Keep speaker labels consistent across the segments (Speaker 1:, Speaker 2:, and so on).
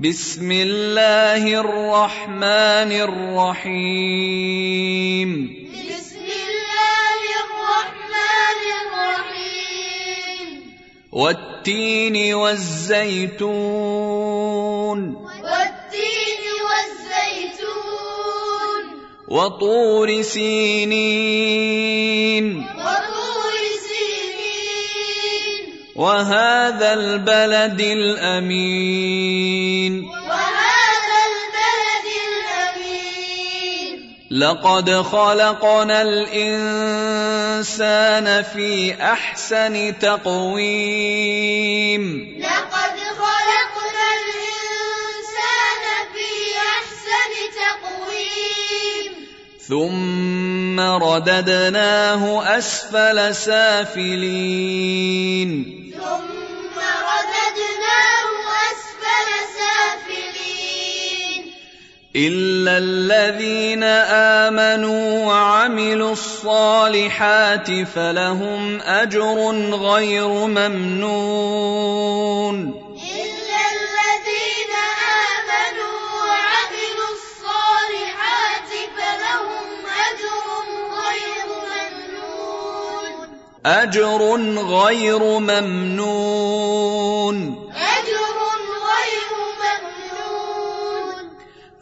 Speaker 1: بسم الله الرحمن الرحيم
Speaker 2: بسم الله الرحمن الرحيم
Speaker 1: والتين والزيتون
Speaker 2: والتين والزيتون
Speaker 1: وطور سينين
Speaker 2: وطور سينين
Speaker 1: وهذا البلد الامين
Speaker 2: وهذا البلد الأمين
Speaker 1: لقد خلقنا الانسان في احسن تقويم
Speaker 2: لقد خلقنا الإنسان في أحسن تقويم
Speaker 1: ثم رددناه اسفل سافلين
Speaker 2: ثم رددناه أسفل سافلين
Speaker 1: الا الذين امنوا وعملوا الصالحات فلهم اجر غير ممنون
Speaker 2: إلا الذين آمنوا وعملوا الصالحات فلهم أجر غير
Speaker 1: اجر غير
Speaker 2: ممنون
Speaker 1: ممنون
Speaker 2: أجر غير ممنون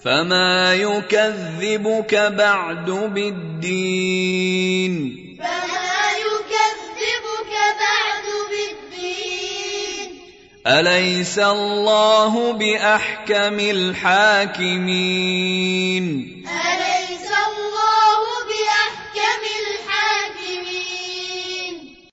Speaker 1: فما يكذبك بعد بالدين
Speaker 2: فما يكذبك بعد بالدين
Speaker 1: أليس الله بأحكم الحاكمين